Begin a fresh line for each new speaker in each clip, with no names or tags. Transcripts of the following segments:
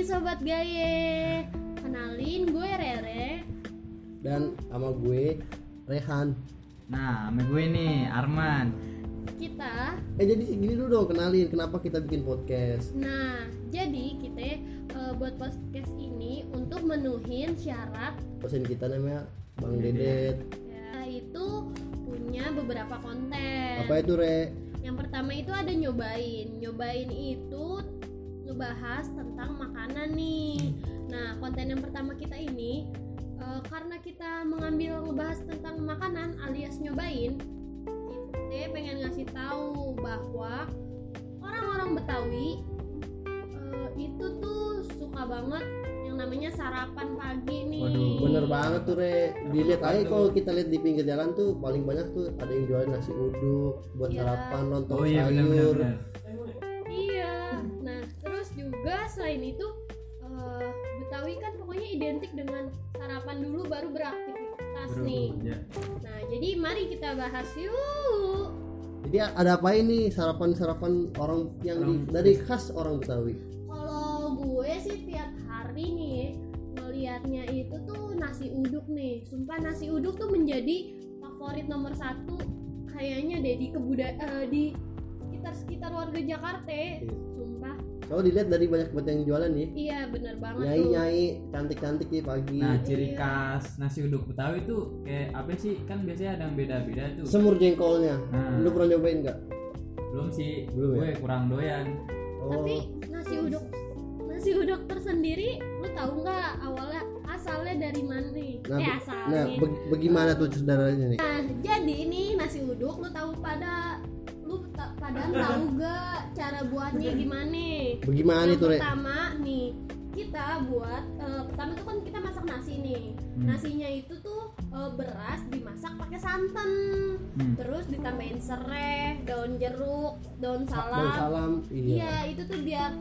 Sobat Gaye Kenalin gue Rere
dan sama gue Rehan
Nah, sama gue nih, Arman.
Kita
eh jadi gini dulu dong kenalin kenapa kita bikin podcast
Nah jadi kita eh, buat podcast ini untuk menuhin syarat
dosen kita namanya Bang
Dedet.
Dedet
ya, Itu punya beberapa konten
apa itu re
Yang pertama itu ada nyobain. Nyobain itu ngebahas tentang makanan nih. Nah, konten yang pertama kita ini eh, karena kita mengambil ngebahas tentang makanan alias nyobain, kita pengen ngasih tahu bahwa orang-orang Betawi eh, itu tuh suka banget yang namanya sarapan pagi nih.
Waduh,
bener banget tuh re dilihat aja
Apaan tuh?
kalau kita lihat di pinggir jalan tuh paling banyak tuh ada yang jual nasi uduk buat
Iya.
sarapan lontong
Oh iya,
sayur
benar-benar.
Iya. Nah, terus juga selain itu eh, Betawi kan pokoknya identik dengan sarapan dulu baru beraktivitas nih.
Ya.
Nah, jadi mari kita bahas yuk.
jadi ada apa ini sarapan sarapan orang yang di-
Orang-
dari khas orang Betawi
Kalau gue sih tiap hari nih melihatnya itu tuh nasi uduk nih. Sumpah nasi uduk tuh menjadi favorit nomor satu kayaknya deh di kebuda eh, di sekitar sekitar warga Jakarta. Sumpah,
kalau dilihat dari banyak banget yang jualan nih
iya bener banget
nyai
tuh.
nyai cantik cantik nih pagi
Nah, ciri
Iya.
khas nasi uduk Betawi tuh kayak apa sih? Kan biasanya ada yang beda-beda tuh.
semur jengkolnya
Nah,
lu pernah nyobain nggak
belum sih.
Belum ya?
gue kurang doyan.
Tapi
Oh.
nasi uduk nasi uduk tersendiri lu tahu nggak awalnya asalnya dari mana?
Nah,
eh
be-
asalnya.
nah be- bagaimana tuh saudaranya nih
Nah, jadi ini nasi uduk lu tahu pada lu ta-
Nah.
padahal tahu gak cara buatnya gimana?
Bagaimana
Yang
Nah, itu, Re?
pertama nih kita buat eh, pertama tuh kan kita masak nasi nih.
Hmm.
Nasinya itu tuh eh, beras dimasak pakai santan.
Hmm.
Terus ditambahin serai, daun jeruk, daun
Bang
salam,
salam. Iya.
Iya, itu tuh biar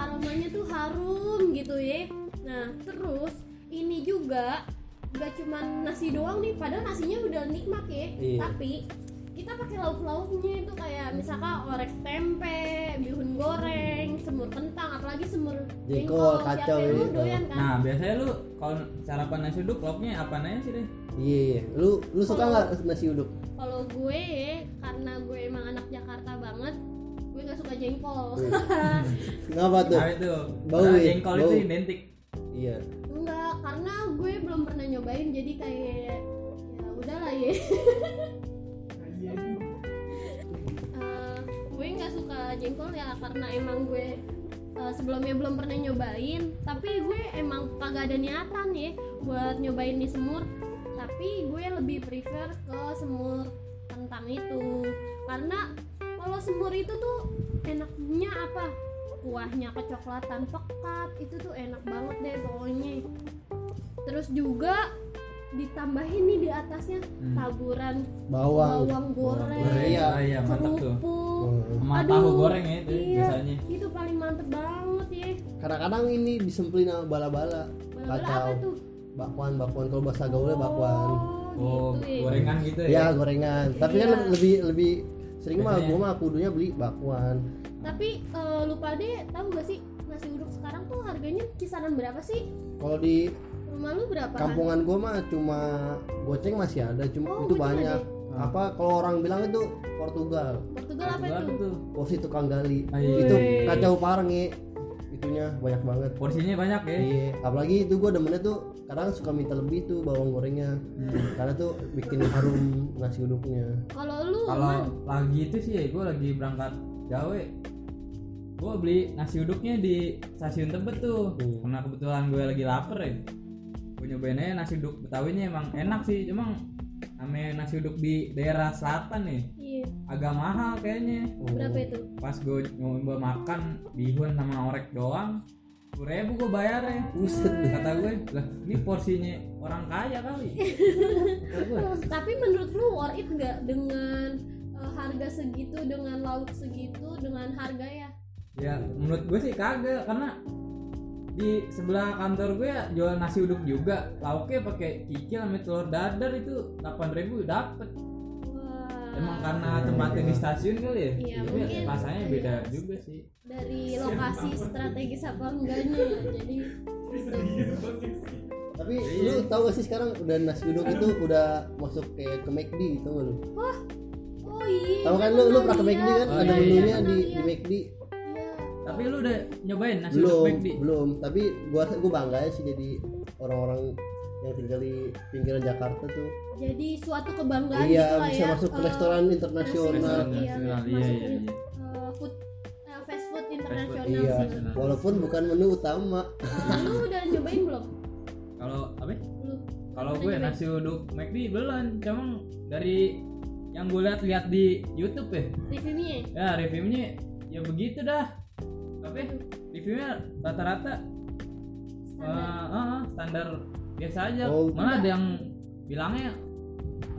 aromanya tuh harum gitu ya. Nah, terus ini juga gak cuman nasi doang nih, padahal nasinya udah nikmat ya.
Iya.
Tapi kita pakai lauk-lauknya itu kayak misalkan orek tempe, bihun goreng, semur kentang, apalagi semur
Jengkol, kacau
Siapa yang lu
gitu.
doyan kan?
Nah, biasanya lu kalau sarapan nasi uduk lauknya apa aja sih deh?
Iya, iya. Lu lu suka
Kalau-
nggak nasi uduk?
Kalau gue karena gue emang anak Jakarta banget, gue gak suka jengkol.
Tuh. Kenapa tuh?
Nah, itu.
Bau
Nah,
ya,
jengkol itu
bau.
identik.
Iya.
Enggak, karena gue belum pernah nyobain jadi kayak ya udahlah ya. Eh, gue nggak suka jengkol ya karena emang gue eh, sebelumnya belum pernah nyobain. Tapi gue emang kagak ada niatan ya buat nyobain di semur. Tapi gue lebih prefer ke semur kentang itu karena kalau semur itu tuh enaknya apa? Kuahnya kecoklatan pekat itu tuh enak banget deh pokoknya. Terus juga ditambahin nih di atasnya
Hmm.
taburan
Bawang.
bawang goreng,
goreng. Iya.
Ah, iya, mantap tuh.
kerupuk.
Hmm.
Sama
Aduh,
tahu goreng ya itu
iya.
biasanya.
Itu paling mantep banget ya.
Kadang-kadang ini disemplin sama bala-bala,
Bala-bala
Kacau.
apa tuh?
bakwan, bakwan kalau bahasa gaulnya bakwan.
Oh,
Oh, gitu ya.
gorengan gitu ya.
Ya, gorengan. Tapi kan
Iya.
lebih lebih sering mah
Biasanya.
gua mah kudunya beli bakwan.
Tapi eh, lupa deh, tahu gak sih nasi uduk sekarang tuh harganya kisaran berapa sih?
Kalau di
Rumah lu berapa?
kampungan gua mah cuma goceng masih ada, cuma
Oh,
itu
goceng
banyak.
ada.
Apa kalau orang bilang itu Portugal,
Portugal apa
Portugal
itu?
tuh.
porsi Oh, tukang gali.
Ah, iya.
Itu
Wih.
kacau parah nge. Itunya banyak banget.
Porsinya banyak ya.
Iya, apalagi itu gue demennya tuh kadang suka minta lebih tuh bawang gorengnya
Hmm.
karena tuh bikin harum nasi uduknya.
Kalau lu Man,
kalau lagi itu sih ya gue lagi berangkat gawe gue beli nasi uduknya di stasiun Tebet tuh
Hmm.
karena kebetulan gue lagi lapar ya gue nyobain aja nasi uduk betawinya emang enak sih cuma namanya nasi uduk di daerah selatan nih
iya,
agak mahal kayaknya
Oh.
berapa ya? itu?
pas gue nyoba makan bihun sama orek doang 10.000 ribu gue bayar ya
Buset deh.
kata gue lah ini porsinya orang kaya kali kata gue
Tapi menurut lu worth it gak dengan eh, harga segitu, dengan lauk segitu, dengan harga ya?
Ya menurut gue sih kagak karena di sebelah kantor gue ya jual nasi uduk juga lauknya pakai kikil sama telur dadar itu 8000 ribu dapet
Wah,
Emang karena tempatnya di stasiun kali ya?
Iya,
Tapi
mungkin.
Rasanya beda juga sih.
dari lokasi strategis apa enggaknya ya jadi
Tapi
Iya.
lu tahu gak sih sekarang udah nasi uduk itu udah masuk kayak ke McD gitu nggak lu?
wah oh iya
Tahu kan lu lu pernah ke McD kan
Oh,
ada
iya, iya.
menunya di di McD.
Tapi lu udah nyobain nasi uduk
Belum,
McD?
belum. Tapi gua rasa gua bangga ya sih jadi orang-orang yang tinggal di pinggiran Jakarta tuh.
jadi suatu kebanggaan
iya,
gitu lah
bisa
ya
masuk ke
eh,
restoran internasional.
Restoran
Iya,
nasional,
iya,
iya
masuk
iya
ini.
iya.
eh, food eh, fast food internasional
Iya,
sih.
Internasional.
walaupun bukan menu utama.
Eh, lu udah nyobain belum
Kalau apa?
lu
Kalau
Udah
gue
nyobain?
nasi uduk McD belum, cuman dari yang gue lihat-lihat di YouTube ya.
reviewnya ya?
Ya reviewnya ya begitu dah. Tapi reviewnya rata-rata eh,
standar
eh, standar biasa aja.
Oh.
Malah ada yang bilangnya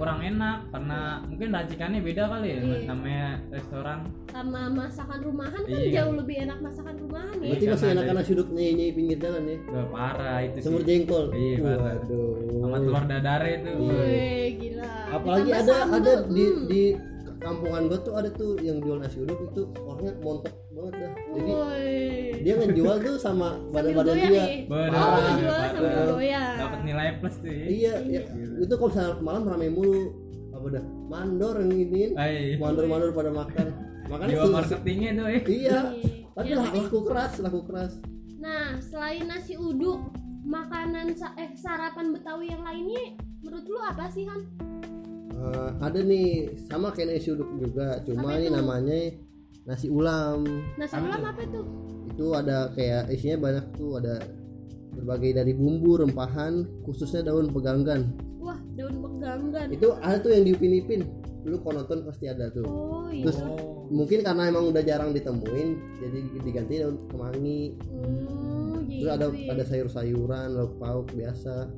kurang enak karena
Iya.
mungkin racikannya beda kali ya
Iya.
namanya restoran.
sama masakan rumahan kan
Iya.
jauh lebih enak masakan rumahan ya
Berarti
Iya,
masih
karena
enakan
ada-
nasi uduk nyai pinggir jalan ya.
Wah, parah itu sih.
Semur Oh. jengkol.
Iya, parah. Sama
Waduh.
telur dadare itu.
Iya.
Wih, gila
apalagi
Ditambah
ada
sambel,
ada di
hmm.
di kampungan gue tuh ada tuh yang jual nasi uduk itu orangnya montok banget dah jadi
Wih.
dia ngejual tuh sama badan
Oh. sambil
badan
goyang
dia
ya
Bener.
oh
Parah,
jual
parah.
sambil goyang
Dapat nilai plus tuh. ya.
iya ya, itu kalau misalnya malam rame mulu apa dah mandor yang iniin
Ay,
mandor mandor pada makan makanya
jiwa
tuh
marketingnya tuh eh.
iya
Iya.
tapi
Ya,
lah- laku keras laku keras
nah selain nasi uduk makanan sa- eh sarapan betawi yang lainnya menurut lu apa sih kan
Eh, ada nih sama kayak nasi uduk juga cuma
Apa
ini
itu?
namanya nasi ulam
nasi
Apa
ulam
tuh?
apa tuh
itu ada kayak isinya banyak tuh ada berbagai dari bumbu rempahan khususnya daun peganggan
wah daun peganggan
itu ada tuh yang diupin-ipin lu kalau nonton pasti ada tuh
oh iya
Terus-
Oh.
mungkin karena emang udah jarang ditemuin jadi diganti daun kemangi
oh gitu
terus ada
ya.
ada sayur-sayuran lauk pauk biasa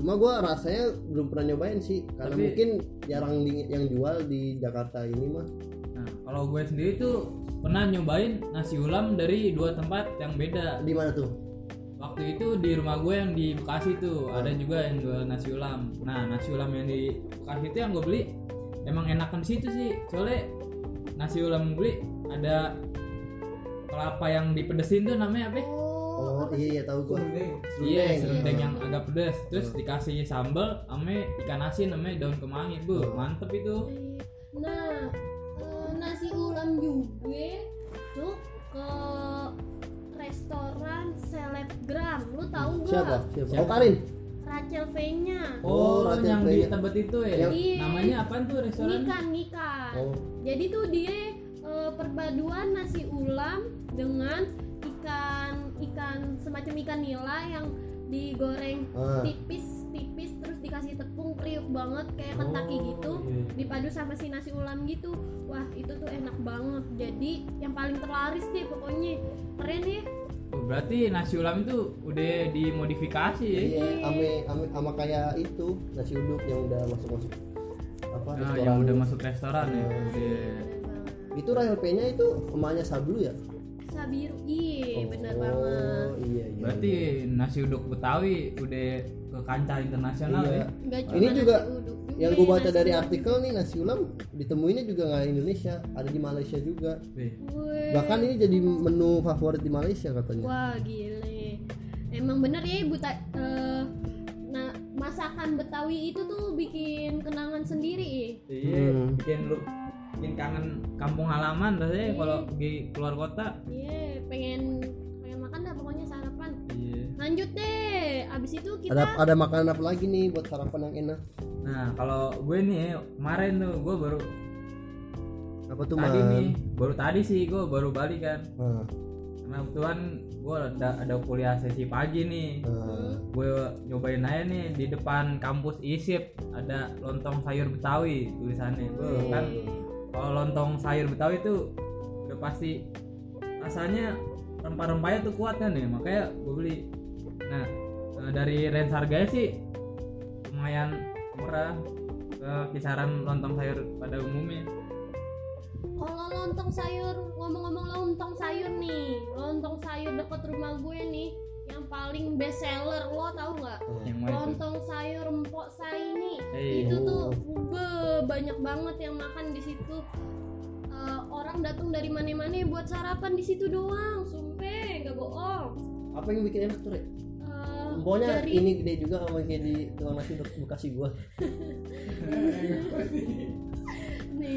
cuma gua rasanya belum pernah nyobain sih karena
Tapi-
mungkin jarang di- yang jual di Jakarta ini mah
Nah, kalau gue sendiri tuh pernah nyobain nasi ulam dari dua tempat yang beda.
di mana tuh
Waktu itu di rumah gue yang di Bekasi tuh ada juga yang jual nasi ulam. Nah, nasi ulam yang di Bekasi itu yang gue beli emang enakan situ sih. Soalnya nasi ulam yang beli ada kelapa yang dipedesin tuh namanya apa? ya?
oh
oh iya iya tahu gua
Iya,
Serundeng.
serundeng
Nah,
yang agak pedas. Terus dikasih sambal ame ikan asin ame daun kemangi. Bu,
Hmm.
mantep itu.
Nah, eh, nasi ulam juga tuh ke restoran selebgram. Lu tahu Iya. gak?
siapa siapa,
Siapa?
oh Karin
Rachel V-nya.
Oh,
Oh,
Raden
yang di
Plenya.
tempat itu ya.
Yang-
Iya.
Namanya apa tuh restoran?
Ngikan, ngikan.
oh
Jadi tuh dia eh, perpaduan nasi ulam dengan ikan ikan semacam ikan nila yang digoreng
ah.
tipis-tipis terus dikasih tepung kriuk banget kayak Kentucky
Oh,
gitu.
iya,
dipadu sama si nasi ulam gitu wah itu tuh enak banget jadi yang paling terlaris deh pokoknya keren ya
Oh, berarti nasi ulam itu udah dimodifikasi ya.
Iya, ame ame ama kayak itu nasi uduk yang udah masuk masuk apa
Nah,
restoran.
yang udah masuk restoran ya.
Iya.
Iya.
Itu Rahel P-nya itu emaknya Sablu ya?
sabiru iya bener
Oh,
banget
Iya, iya.
Berarti nasi uduk Betawi udah ke kancah internasional
Iya.
ya.
Nggak
Ini
nasi
juga
uduk ya,
yang gue baca
Iya, nasi
dari
ulam.
artikel nih nasi ulam ditemuinnya juga nggak di Indonesia, ada di Malaysia juga.
Wih,
Wih.
Bahkan ini jadi menu favorit di Malaysia katanya.
Iya. wah gile emang bener ya ibu Ta- eh, nah masakan betawi itu tuh bikin kenangan sendiri ih.
Iya,
Hmm.
bikin lu bikin kangen kampung halaman rasanya ya
Iya.
kalau di keluar kota.
iya pengen pengen makan dah pokoknya sarapan
Iya.
lanjut deh abis itu kita
Ada ada makanan apa lagi nih buat sarapan yang enak?
Nah, kalau gue nih kemarin tuh gue baru
Apa tuh
tadi
man?
nih, baru tadi sih gue baru balik kan.
Ah,
Karena kebetulan gue ada, ada kuliah sesi pagi nih.
ah.
Gue nyobain aja nih di depan kampus ISIP ada lontong sayur Betawi tulisannya. Tuh,
Oh.
kan
Wih.
kalau lontong sayur Betawi tuh udah pasti rasanya rempah-rempahnya tuh kuat kan ya. Makanya gue beli. Nah, eh, dari range harganya sih lumayan murah ke kisaran lontong sayur pada umumnya.
Kalau lontong sayur, ngomong-ngomong lontong sayur nih, lontong sayur dekat rumah gue nih, yang yang paling best seller lo tau nggak
yang mana itu?
lontong sayur empok saini
Hei.
itu tuh
Oh.
be, banyak banget yang makan di situ Eh, orang datang dari mana-mana buat sarapan di situ doang sumpah nggak bohong
apa yang bikin enak tuh Rek?
Eh,
Pokoknya
dari
ini gede juga sama kayak di tukang nasi Bek- Bekasi gua.
nih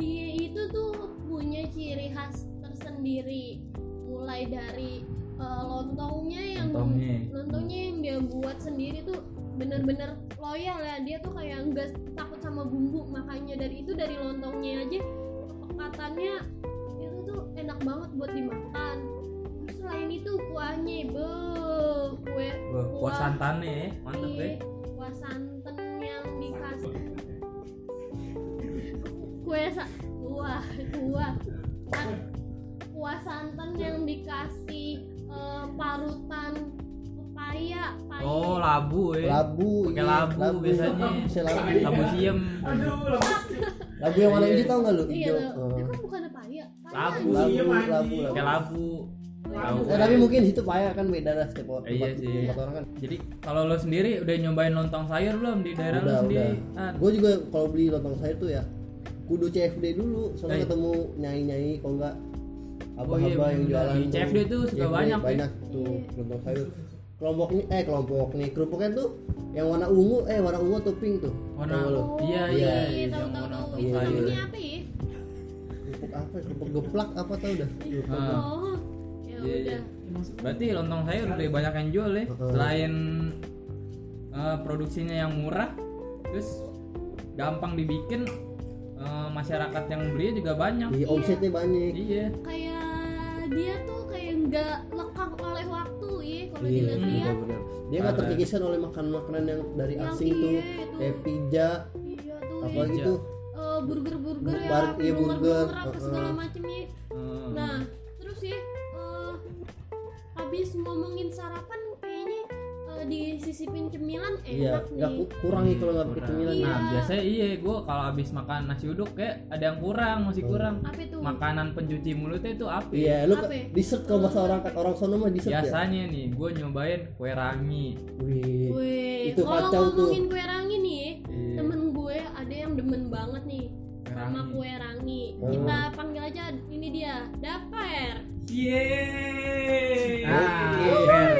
dia itu tuh punya ciri khas tersendiri mulai dari eh, lontongnya yang
Lontongnya.
lontongnya yang dia buat sendiri tuh bener-bener loyal ya dia tuh kayak nggak takut sama bumbu makanya dari itu dari lontongnya aja katanya itu tuh enak banget buat dimakan Terus selain itu kuahnya be kue
Wah, kuah santannya ya, mantep
Iya,
deh.
kuah santan yang dikasih kue sa kuah kuah Kan, kuah santan yang dikasih eh, parutan pepaya pahit
Oh, labu ya.
Labu,
Pakai
iya,
labu biasanya.
Bisa labu.
Labu siam.
Labu yang warna
Iya.
hijau tau nggak lu?
iya
Hijau.
loh
Eh,
eh, kan bukan pepaya paya
Labu.
anjing.
Labu,
Iya,
labu, labu.
anjing.
Pakai labu. Tahu.
Ya, tapi mungkin itu paya kan beda lah setiap orang.
Iya sih.
Tempat orang kan.
Jadi kalau lo sendiri udah nyobain lontong sayur belum di kan. daerah lo
Udah,
sendiri? Ah.
udah.
Tan?
Gue juga kalau beli lontong sayur tuh ya kudu CFD dulu, soalnya
Eh.
ketemu nyai-nyai kalau enggak
Oh iya,
abah-abah yang
bener-bener.
jualan
Di CFD tuh suka banyak, ya.
banyak tuh
Iya.
lontong sayur. Kelompok nih, eh kelompok nih, kerupuknya tuh yang warna ungu, eh warna ungu atau pink tuh.
Warna
Tahu lu?
Oh,
Iya, iya, iya,
tahu
yang
tahu
warna
tahu
tahu
itu
sayur.
namanya apa ya
kerupuk apa? Kerupuk geplak apa tau dah. Lupa
Ah.
gua.
oh ya
Iya, iya.
udah
Berarti lontong sayur lebih banyak yang jual ya.
Heeh.
Selain eh, produksinya yang murah, terus gampang dibikin eh, masyarakat yang beli juga banyak.
Di
Iya.
omsetnya banyak.
Iya.
kayak dia tuh kayak nggak lekang oleh waktu ya kalau
Iya,
dilihat-lihat
benar-benar. Dia nggak
Ah.
Parah.
terkikiskan oleh makanan-makanan yang dari
Yang
asing tuh,
iya, itu.
kayak pizza, gitu.
iya tuh ya.
apalagi
Pizza.
tuh
Eh, burger-burger ya,
Bar- iya, burger,
burger-burger apa
uh-uh.
segala macem ya.
Eh,
Nah, terus ya, eh, habis ngomongin sarapan kayaknya eh, disisipin cemilan
Iya,
enak
nggak
nih.
ku- kurang nih kalau ya. nggak
kurang.
pakai cemilan.
Iya.
Nah, biasanya iya gue kalau habis makan nasi uduk kayak ada yang kurang, masih
Betul.
kurang.
Apa itu?
Makanan pencuci mulutnya itu apa?
Iya, lu
Apa
ke-
ya?
dessert kalau bahasa orang orang sono mah dessert ya.
Biasanya nih gue nyobain kue rangi.
Wih.
Wih,
Itu
kalau
kacau tuh.
ngomongin kue rangi nih, ya,
Iya.
temen gue ada yang demen banget nih
Kue
sama
rangi.
kue rangi.
Oh.
Kita panggil aja ini dia, Daper.
Yeay.
Nah, Per.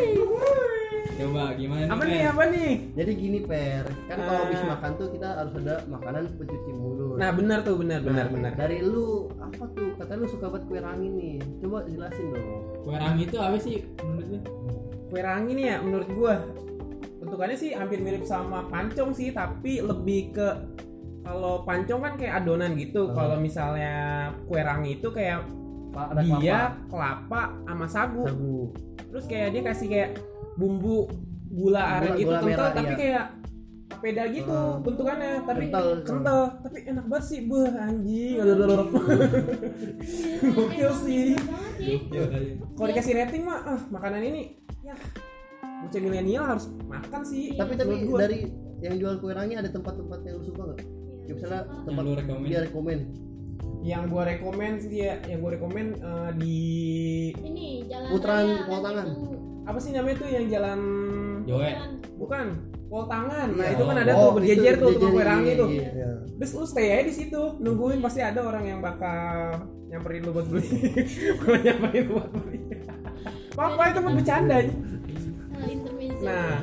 coba gimana nih?
Apa
Per?
nih? Apa nih?
Jadi gini per, kan kalau
Ah.
habis makan tuh kita harus ada makanan pencuci mulut.
Nah, benar tuh, benar, benar,
Nah,
benar.
Dari lu apa tuh? Kata lu suka banget kue rangi nih. Coba jelasin dong.
Kue rangi itu apa sih menurut lu?
Kue rangi nih ya menurut gua bentukannya sih hampir mirip sama pancong sih tapi lebih ke kalau pancong kan kayak adonan gitu
Hmm.
kalau misalnya kue rangi itu kayak
Pak
dia kelapa. sama sagu
sagu.
terus kayak dia kasih kayak bumbu gula aren
Gula-
gitu
gula
kental
merah,
tapi
iya.
kayak peda gitu
Hmm.
bentukannya tapi
Kental.
kental, tapi enak banget sih beuh anjing
Iya,
Aduh, Gokil
Emang
sih.
Iya, enak banget ya.
Iya.
kalau dikasih rating mah ah, makanan ini ya bocah milenial harus makan sih
Iya. Tapi tapi
Menurut gua.
dari yang jual kue rangi ada tempat-tempat yang lu suka nggak?
iya,
Ya misalnya tempat
lu rekomen.
dia rekomen.
yang gue rekomen sih dia yang gue rekomen eh, di
Ini jalan
Putaran
raya
Pulau
ada gitu.
Tangan.
yang-
apa sih namanya tuh yang jalan
Joe.
Jalan.
bukan pol tangan nah
Iya.
itu kan ada
Oh,
tuh berjejer
itu
tuh tukang kue
berjejer,
rangi
iya,
tuh
iya, iya.
terus lu stay aja di situ nungguin pasti ada orang yang bakal nyamperin lu buat beli kalau nyamperin lu buat beli apa itu mah bercanda
Iya.
Eh, intermezzo.
nah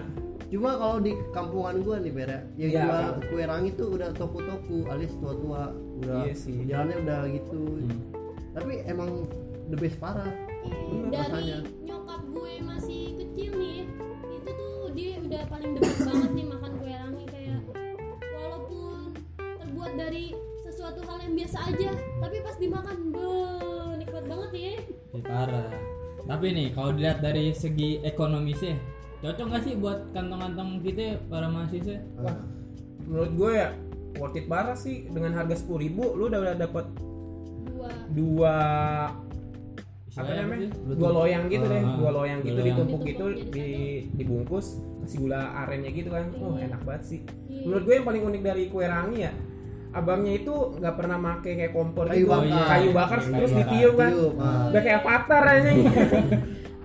Cuma kalau di kampungan gua nih Bera, yang
Iya,
jual
Kak.
kue rangi tuh udah toko-toko alias tua-tua, udah
Iya sih.
jalannya udah gitu.
Hmm.
Hmm,
Tapi emang the best parah.
Eh, dari
rasanya.
nyokap gue masih kecil nih itu tuh dia udah paling demen banget nih makan kue rangi kayak walaupun terbuat dari sesuatu hal yang biasa aja tapi pas dimakan be nikmat banget ya
Ya, parah. Tapi nih kalau dilihat dari segi ekonomisnya, cocok nggak sih buat kantong-kantong kita para mahasiswa?
Nah,
Wah, menurut gue ya worth it banget sih dengan harga sepuluh ribu lu udah udah dapat
dua
dua apa
Istilahnya
namanya
sih?
dua loyang gitu deh
Ah,
dua loyang
dua
gitu
loyang.
Ditumpuk
ditumpuk gitu
jadi
di dibungkus kasih gula arennya gitu kan oh
Hmm.
enak banget sih
Iya.
menurut gue yang paling unik dari kue rangi ya abangnya itu nggak pernah make kayak kompor
Kayu
gitu
bakar. Iya,
kayu bakar
Kayu
terus
bakar.
ditiup kan
Tiup, ah.
udah kayak avatar aja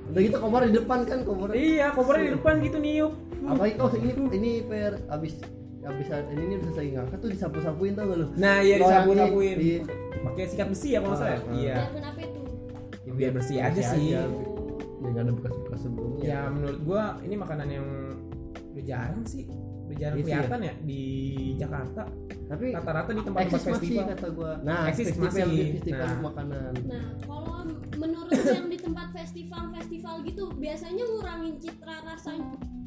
udah gitu komar di depan kan komar
Iya, kompornya di depan gitu niup.
apalagi oh ini ini per abis abis saat ini udah selesai ngangkat tuh disapu-sapuin tau gak lu
Nah, iya
Kalau yang ini,
disapu-sapuin.
di-
Pakai sikat besi ya kalau nggak salah.
Ah, ah.
Iya.
Biar kenapa itu?
Ya, biar bersih aja sih.
aja. ya gak ada bekas-bekas sebelumnya
Ya menurut gua ini makanan yang udah jarang sih. Udah jarang
Gitu ya?
kelihatan ya di Jakarta.
tapi
Rata-rata di tempat-tempat
eksis masih
festival.
kata gua nah
Eksis
festival
masih.
festival
Nah.
makanan
Nah, kalau menurut lu yang di tempat festival-festival gitu biasanya ngurangin citra rasa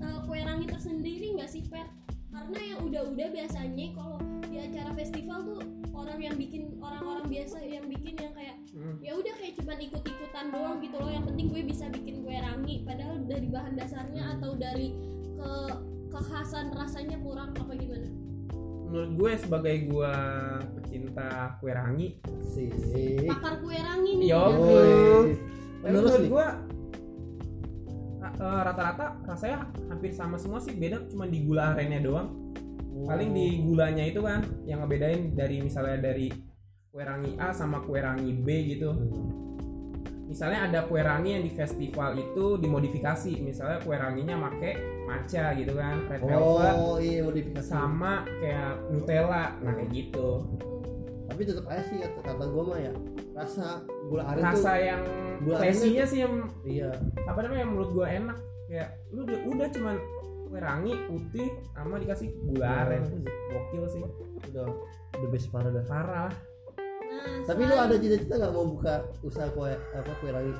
eh, kue rangi tersendiri nggak sih, Per? Karena yang udah-udah biasanya kalau di acara festival tuh orang yang bikin orang-orang biasa yang bikin yang kayak
Hmm.
ya udah kayak cuman ikut-ikutan doang gitu loh yang penting gue bisa bikin kue rangi padahal dari bahan dasarnya atau dari ke kekhasan rasanya kurang apa gimana
Menurut gue sebagai gua pecinta kue rangi,
si Eh.
pakar kue rangi nih
Yo.
ya.
Woi.
Tapi
menurut
menurut
nih
gua ra- eh, rata-rata rasanya hampir sama semua sih beda cuma di gula arennya doang paling di gulanya itu kan yang ngebedain dari misalnya dari kue rangi A sama kue rangi B gitu misalnya ada kue rangi yang di festival itu dimodifikasi misalnya kue ranginya make matcha gitu kan red velvet
oh iya modifikasi
sama kayak Nutella nah kayak gitu
tapi tetap aja sih kata, kata gua mah ya rasa gula aren
rasa yang
gula arennya
fleshy-nya sih yang
tuh iya
apa namanya yang menurut gua enak kayak lu udah, udah cuman kue rangi putih sama dikasih gula
Iya.
aren gokil sih
udah the best parah dah
parah lah
nah
tapi lu
selain-
ada cita-cita nggak mau buka usaha kue apa kue rangi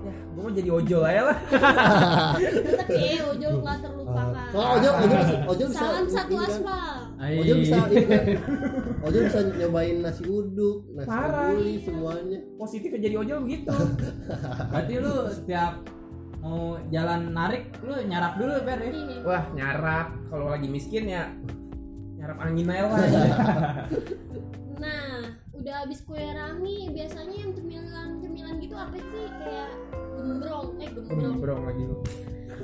ya gua mau jadi ojol aja lah
tapi eh ojol nggak terlupakan
Kalau Oh, ojol ojol ojol bisa
salam satu
ini kan.
aspal
Ai.
Ojol bisa
Iya.
ini kan. Ojol bisa nyobain nasi uduk, nasi
Parah.
guli semuanya.
positifnya jadi ojol gitu
Berarti lu setiap mau jalan narik lu nyarap dulu ber ya.
Ih,
wah nyarap kalau lagi miskin ya nyarap angin aja lah
nah udah habis kue rangi biasanya yang cemilan cemilan gitu apa sih kayak gembrong eh gembrong
gembrong lagi lu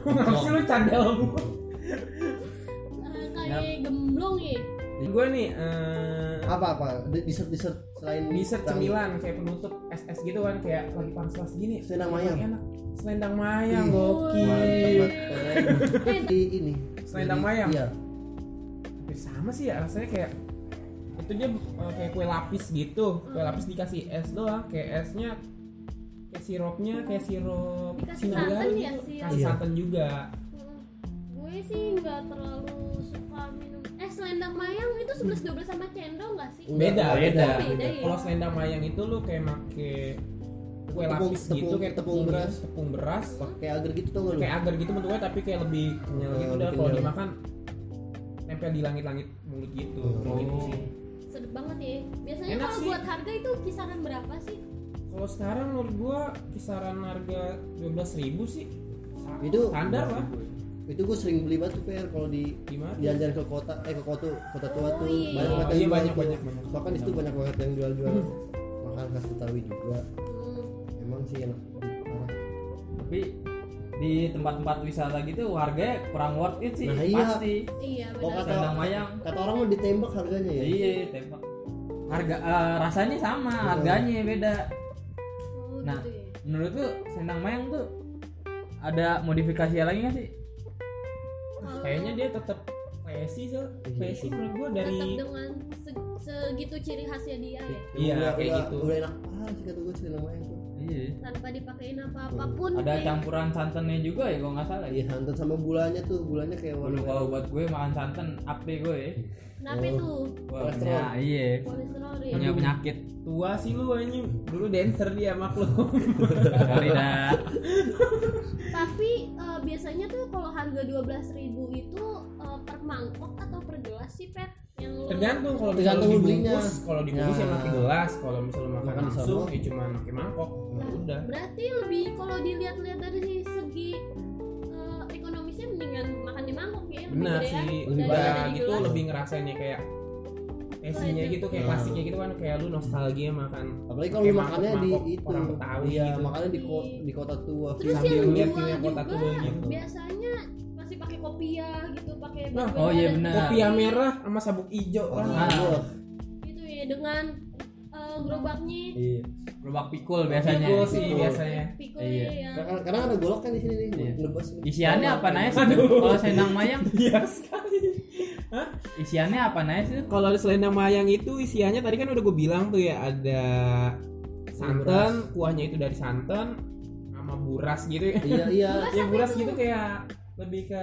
Ngapa sih lu candel
Eh, kayak gemblong ya
gue nih eh,
Apa apa? Dessert dessert selain
dessert
rangi.
cemilan kayak penutup es es gitu kan kayak lagi panas-panas gini
Selendang mayang.
enak selendang mayang
Ih,
gokil
Tempat keren.
Eh,
Di ini.
Selendang
Jadi,
mayang.
Iya.
hampir sama sih ya rasanya kayak itu dia eh, kayak kue lapis gitu kue lapis dikasih es doang kayak esnya kayak sirupnya kayak sirup
Dikasih
sinagari
santan ya,
gitu.
sirup?
kasih
Iya.
santan juga
Hmm, gue sih nggak terlalu suka minum eh selendang mayang itu 11 12 sama cendol nggak sih
Enggak,
beda
beda.
beda,
Beda ya?
kalau selendang mayang itu lu kayak make kue
Tepung-
lapis
tepung-
gitu kayak
tepung beras.
tepung beras
Pakai agar gitu tuh lu.
kayak agar gitu bentuknya tapi kayak lebih kenyal
Hmm,
gitu
lebih
dan kalau
kenyal.
dimakan nempel di langit-langit mulut gitu
Hmm.
kayak gitu sih
sedep banget ya biasanya
Enak
kalau
sih.
buat harga itu kisaran berapa sih
kalau sekarang menurut gua kisaran harga 12.000 sih Sa-
Itu
standar lah
Itu gue sering beli batu per kalau di
gimana
jalan-jalan ke kota eh ke kota kota
Oh,
tua tuh
iya.
banyak banget
Oh, iya,
yang
banyak,
jual
banyak,
itu.
banyak.
Bahkan di situ banyak banget yang jual-jual makanan khas Betawi juga.
Hmm,
Emang sih enak. Parah.
Tapi di tempat-tempat wisata gitu harganya kurang worth it sih
Nah, iya.
pasti.
iya
Kok
benar
kata
Selendang mayang.
kata orang mau ditembak harganya ya.
Iya, tembak. Harga eh, rasanya sama, harganya beda.
Oh,
Nah.
gitu ya.
Menurut lu selendang mayang tuh ada modifikasi lagi nggak sih?
Kalau
kayaknya dia tetap PSI
Iya
sih PSI menurut gua dari
tetap dengan se- segitu ciri khasnya dia ya
Iya,
udah,
kayak
udah,
gitu.
udah enak parah sih kata gue selendang mayang tuh.
Iya.
tanpa dipakein apa-apapun
Ada
kayak-
campuran santannya juga ya kalau nggak salah.
Iya,
ya.
hantam sama bulannya tuh, bulannya kayak gitu.
Waduh
warna.
kalau buat gue makan santan up deh gue. ya.
kenapa
Oh.
itu
Wah,
Kolesterol.
punya, iya.
kolesterol ya
Punya penyakit.
tua sih lu anjing dulu dancer dia maklum
Sorry dah.
tapi eh, biasanya tuh kalau harga 12.000 itu eh, per mangkok atau per gelas sih pet yang lo-
tergantung kalau
Tergantung
misalnya
lu belinya.
dibungkus kalau dibungkus
Ya.
ya pakai gelas kalau misalnya makan
Makan di
langsung
sono.
ya cuma pakai mangkok ya udah
berarti lebih kalau dilihat-lihat dari segi eh, ekonomisnya mendingan makan di mangkok ya lebih
benar
gedean.
sih
Lebih
kayak
banyak.
gitu lebih ngerasainnya kayak PSI-nya gitu kayak
Nah.
klasiknya gitu kan kayak lu nostalgia makan
Apalagi kalau
Kayak
makannya di
mangkok-mangkok
itu.
orang Betawi
Iya,
gitu.
makannya di ko- di kota tua. Iya.
terus
Sambil
yang
lihat
jual
view-nya kota
juga
tua gitu.
biasanya masih pakai kopiah gitu pakai
Nah,
baju
oh iya
adat
benar.
gitu.
Oh. kopi merah sama sabuk ijo
Orang
lah
Ah.
tua.
gitu ya dengan eh, gerobaknya
Iya.
gerobak pikul Iya, biasanya
Pikul sih
Pikul.
biasanya.
pikul
Iya.
yang
Kadang, kadang ada golok kan di sini nih.
Iya.
Nebas.
isiannya apa naik sih
Aduh.
kalau senang mayang
Iya sekali.
isiannya apa naik sih
Kalau selain nama yang itu isiannya tadi kan udah gue bilang tuh ya ada santan, kuahnya itu dari santan sama buras gitu ya.
Iya iya.
Buras
Ya
apa
buras
itu?
gitu kayak lebih ke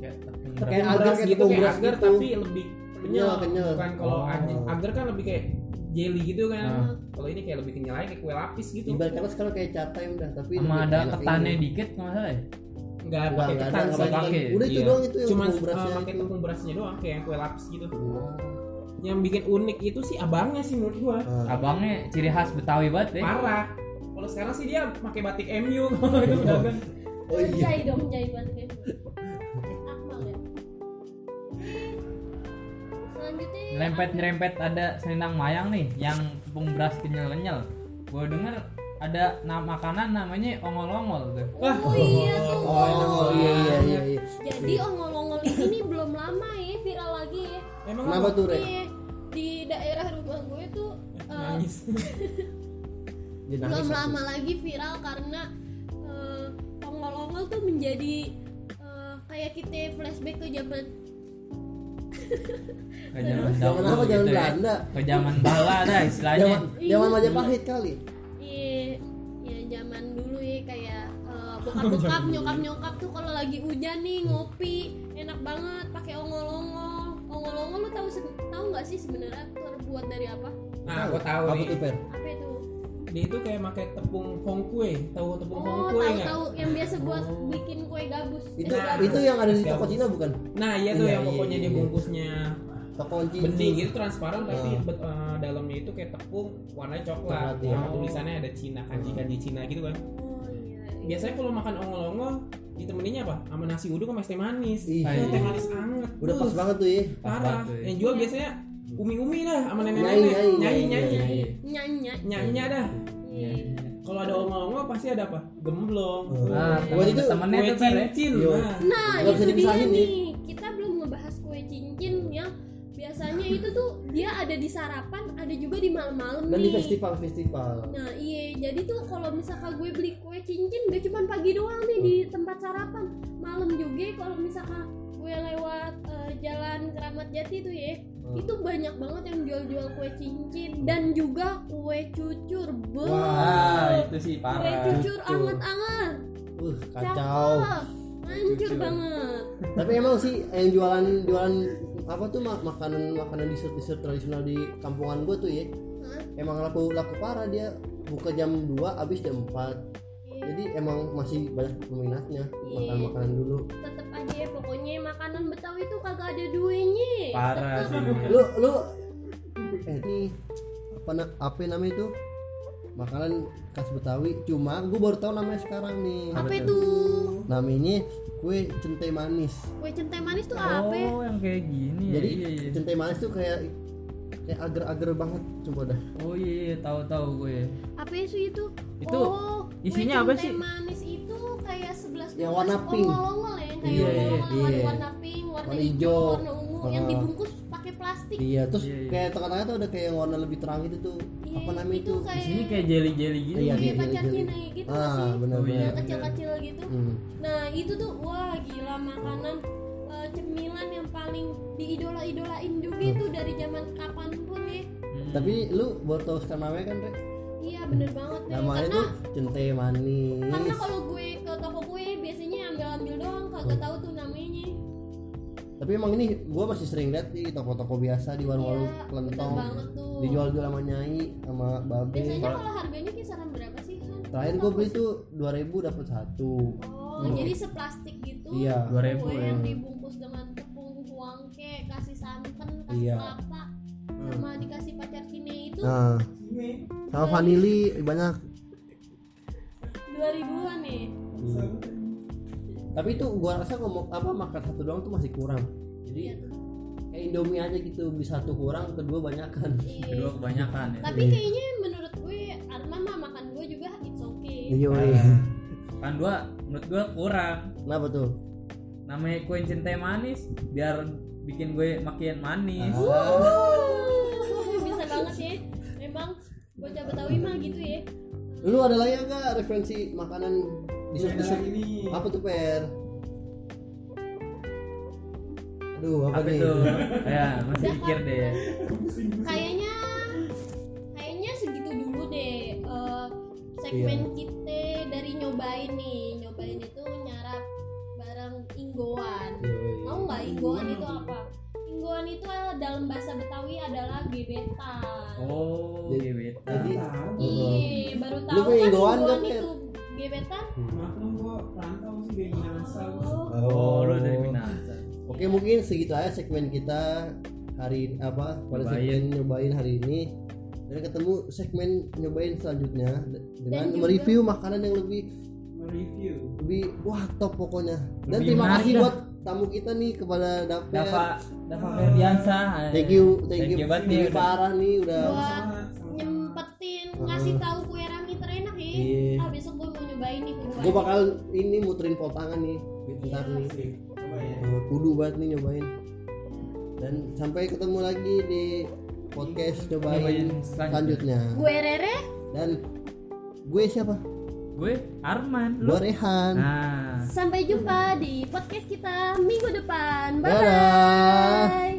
Kayak
Tepung
agar,
beras
kayak
gitu
tepung
kayak
beras
agar
gitu.
tapi lebih kenyal
Kenyal, kenyal.
bukan kalau
Oh.
agar, agar kan lebih kayak jelly gitu kan
Ah.
kalau ini kayak lebih kenyal aja kayak kue lapis gitu
Ibarat kata sekarang kayak catai udah tapi
sama
lebih
ada
enak
ketannya
ini.
dikit nggak salah ya
nggak
Enggak,
pakai
enggak ada,
ketan
enggak
sih
pakai.
pakai.
Udah itu
Iya.
doang itu yang
cuma
tepung berasnya
eh, pakai
itu.
tepung berasnya doang kayak yang kue lapis gitu yang bikin unik itu sih abangnya sih menurut gua
Ah.
abangnya ciri khas betawi banget ya
parah kalau sekarang sih dia pakai batik MU kalau itu kan. dagang
Oh iya.
Jai dong jai banget kayak gitu. Akmal ya selanjutnya
nyerempet nyerempet ada selendang mayang nih yang tepung beras kenyal kenyal gue denger ada nama makanan namanya ongol-ongol tuh
oh iya tuh
Oh, oh, iya iya iya. iya.
jadi ongol-ongol ini nih belum lama ya viral lagi ya
emang
Kenapa
apa?
tuh, Rek?
Iya, di daerah rumah gue tuh eh,
nangis
Dia nangis
belum
satu.
lama lagi viral karena eh, ongol-ongol tuh menjadi eh, kayak kita flashback ke zaman
ke zaman
Iya, Zaman
dahulu
apa? Zaman
gitu ya.
Belanda.
ke zaman bala dah istilahnya
Zaman
Iya.
zaman Majapahit kali.
iya ya zaman dulu ya kayak eh, bokap-bokap nyokap-nyokap tuh kalau lagi hujan nih ngopi enak banget pakai ongol-ongol ongol-ongol lu tahu se- tahu nggak sih sebenarnya terbuat dari apa
nah aku tahu
Apa
nih
tuh, Per?
apa itu
dia itu kayak pakai tepung hongkwe tahu tepung
oh
hongkwe nggak
tahu-tahu yang biasa buat bikin kue gabus es
Oh. Itu
gabus.
itu yang ada di toko Cina bukan?
nah iya tuh
Iya,
yang
iya,
pokoknya
iya,
dia
iya.
bungkusnya
Toko Cina.
bening itu transparan tapi
Ah.
bet- eh, dalamnya itu kayak tepung warnanya coklat
Coklat, ya. Ah.
sama tulisannya ada Cina kanji kanji Cina gitu kan
oh iya
biasanya kalau makan ongol-ongol ditemeninnya apa sama nasi uduk sama es teh manis
Ih,
Ah,
Itu
iya.
teh manis anget
Udah
tuh,
pas banget tuh ya.
Pas
parah
banget tuh, ya.
yang jual
Iya.
biasanya umi-umi dah sama
Nyai,
nenek-nenek
nyai,
nyanyi
nyai,
Iya,
nyanyi
nyai.
nyanyi
nyanyinya dah
iya
kalau ada ongol-ongol pasti ada apa gemblong
nah
Buat itu
temennya
kue
tuh Per, ya.
cincin
Ah. Iya.
nah.
Nah,
Nggak
itu
bisa
dia
dipisahin,
nih. Kita belum ngebahas kue cincin yang biasanya itu tuh dia ada di sarapan, ada juga di malam-malam
Dan di
nih.
festival-festival.
Nah, iya. Jadi tuh kalau misalkan gue beli kue cincin gak cuma pagi doang nih di
Hmm.
tempat sarapan. Malam juga ya, kalau misalkan gue lewat eh, jalan Keramat Jati tuh ya,
Hmm.
itu banyak banget yang jual-jual kue cincin dan juga kue cucur. Be.
wah Ah, itu sih
kue
parah
cucur
Cucur.
anget-anget.
Uh, kacau.
Cakep. Hancur
Cucur.
banget.
Tapi emang sih yang jualan jualan apa tuh mak- makanan makanan dessert dessert tradisional di kampungan gue tuh ya.
Hah?
Emang laku laku parah dia buka jam 2 habis jam 4.
Iya.
Jadi emang masih banyak peminatnya
Iya.
makan makanan dulu.
tetep aja ya pokoknya makanan Betawi itu kagak ada duitnya
parah sih ya.
Lu lu eh ini apa na- apa namanya itu? Makanan khas Betawi. Cuma gue baru tahu namanya sekarang nih.
apa itu
Namanya kue centai manis.
kue centai manis tuh apa ya?
oh yang kayak gini ya
Jadi
iya, iya.
centai manis tuh kayak kayak agar-agar banget coba dah.
oh iya, iya tahu-tahu gue
apa ya sih itu
Itu
oh, kue
isinya apa
centai
sih?
manis itu kayak sebelas
Yang warna pink.
ongol-ongol ya yang kayak
Iya,
ongol-ongol yang
iya.
warna- warna pink warna,
Warna
hijau
hijau.
warna ungu yang
Ah.
dibungkus pakai plastik
Iya, terus
Iya, iya.
kayak tengah-tengah tuh ada kayak yang warna lebih terang itu tuh.
Iya,
apa namanya itu?
di
kayak
sini kayak jelly-jelly gitu
Iya,
kayak
iya,
pacar
iya, iya.
Cina gitu nggak
Ah,
sih
benar
Oh, iya.
benar.
yang kecil-kecil gitu
Hmm.
Nah itu tuh wah gila makanan eh, cemilan yang paling diidola-idolain juga
Hmm.
itu dari zaman kapanpun ya
Hmm.
Tapi lu baru tahu sekarang namanya kan, Rek?
Iya bener banget deh
Hmm. Namanya
karena
tuh centai
karena
manis.
kalau gue ke toko kue biasanya ambil-ambil doang kagak
Hmm.
tahu tuh namanya.
Tapi emang ini gua masih sering lihat di toko-toko biasa di warung-warung
Iya bener
kelentong.
banget tuh.
Dijual-jual sama nyai sama babe.
Biasanya kalau harganya kisaran berapa sih? Han?
Terakhir gua beli tuh 2000 dapat satu.
Oh jadi seplastik gitu.
Iya.
2000
Kue
ya.
yang dibungkus dengan tepung huangke, kasih santan, kasih
Iya. Hmm.
kelapa, sama dikasih pacar Cina itu
Nah, sama
Iya.
vanili banyak.
2000-an nih.
Tapi itu gua rasa ngomong apa makan satu doang tuh masih kurang.
Iya.
Jadi kayak Indomie aja gitu, beli satu kurang, kedua kan. banyakan.
Iya.
kedua kebanyakan ya
Tapi
Iya.
kayaknya menurut gue Arman mah makan gue juga it's okay.
Iya,
Parah. kan dua menurut gue kurang
Kenapa tuh?
namanya kue cinta manis biar bikin gue makin manis
Ah.
Bisa banget ya. Memang bocah Betawi mah gitu ya.
Lu ada lagi enggak referensi makanan
Iya.
dessert
Ada
dessert?
lagi nih.
Apa tuh per? Aduh apa,
apa
nih?
itu ya masih
Udah,
pikir
Kak.
deh
Kayaknya kayaknya segitu dulu deh eh,
Iya.
segmen kita dari nyobain nih. Nyobain itu nyarap barang inggoan.
Yoi.
Mau nggak inggoan itu apa? Inggoan itu eh, dalam bahasa Betawi adalah gebetan.
oh
Jadi-
gebetan
Jadi
Tahu.
Iya, baru
Lu
tahu
punya
kan
inggoan
inggoan
kan, Fir?
itu gebetan.
Maklum gua rantau sih dari
Iya,
Minahasa. gua.
Oh,
oh lu dari
Iya.
Minahasa
Oke mungkin segitu aja segmen kita hari apa pada
Nyobain.
segmen nyobain hari ini dan ketemu segmen nyobain selanjutnya de- dengan
juga-
mereview makanan yang lebih
Mereview.
lebih wah top pokoknya dan
Lebih
terima
menarik
kasih
dah.
buat tamu kita nih kepada Dafer
Dava Dava Ferdiansa
thank you thank,
Thank
you,
you banget nih,
Ini
udah.
parah nih udah
buat
Sama-sama.
nyempetin ngasih tahu kue rangi terenak ya.
Hmm. Iya.
Ah besok gue mau nyobain nih kue
gue bakal ini muterin poltangan nih bentar nih
Sip. Coba ya.
Eh, kudu banget nih nyobain dan sampai ketemu lagi di podcast
Nyobain
nyobain
selanjutnya.
selanjutnya
Gue Rere,
dan gue siapa
gue Arman lu
gue Rehan
nah
sampai jumpa di podcast kita minggu depan.
Dadah.
Bye bye.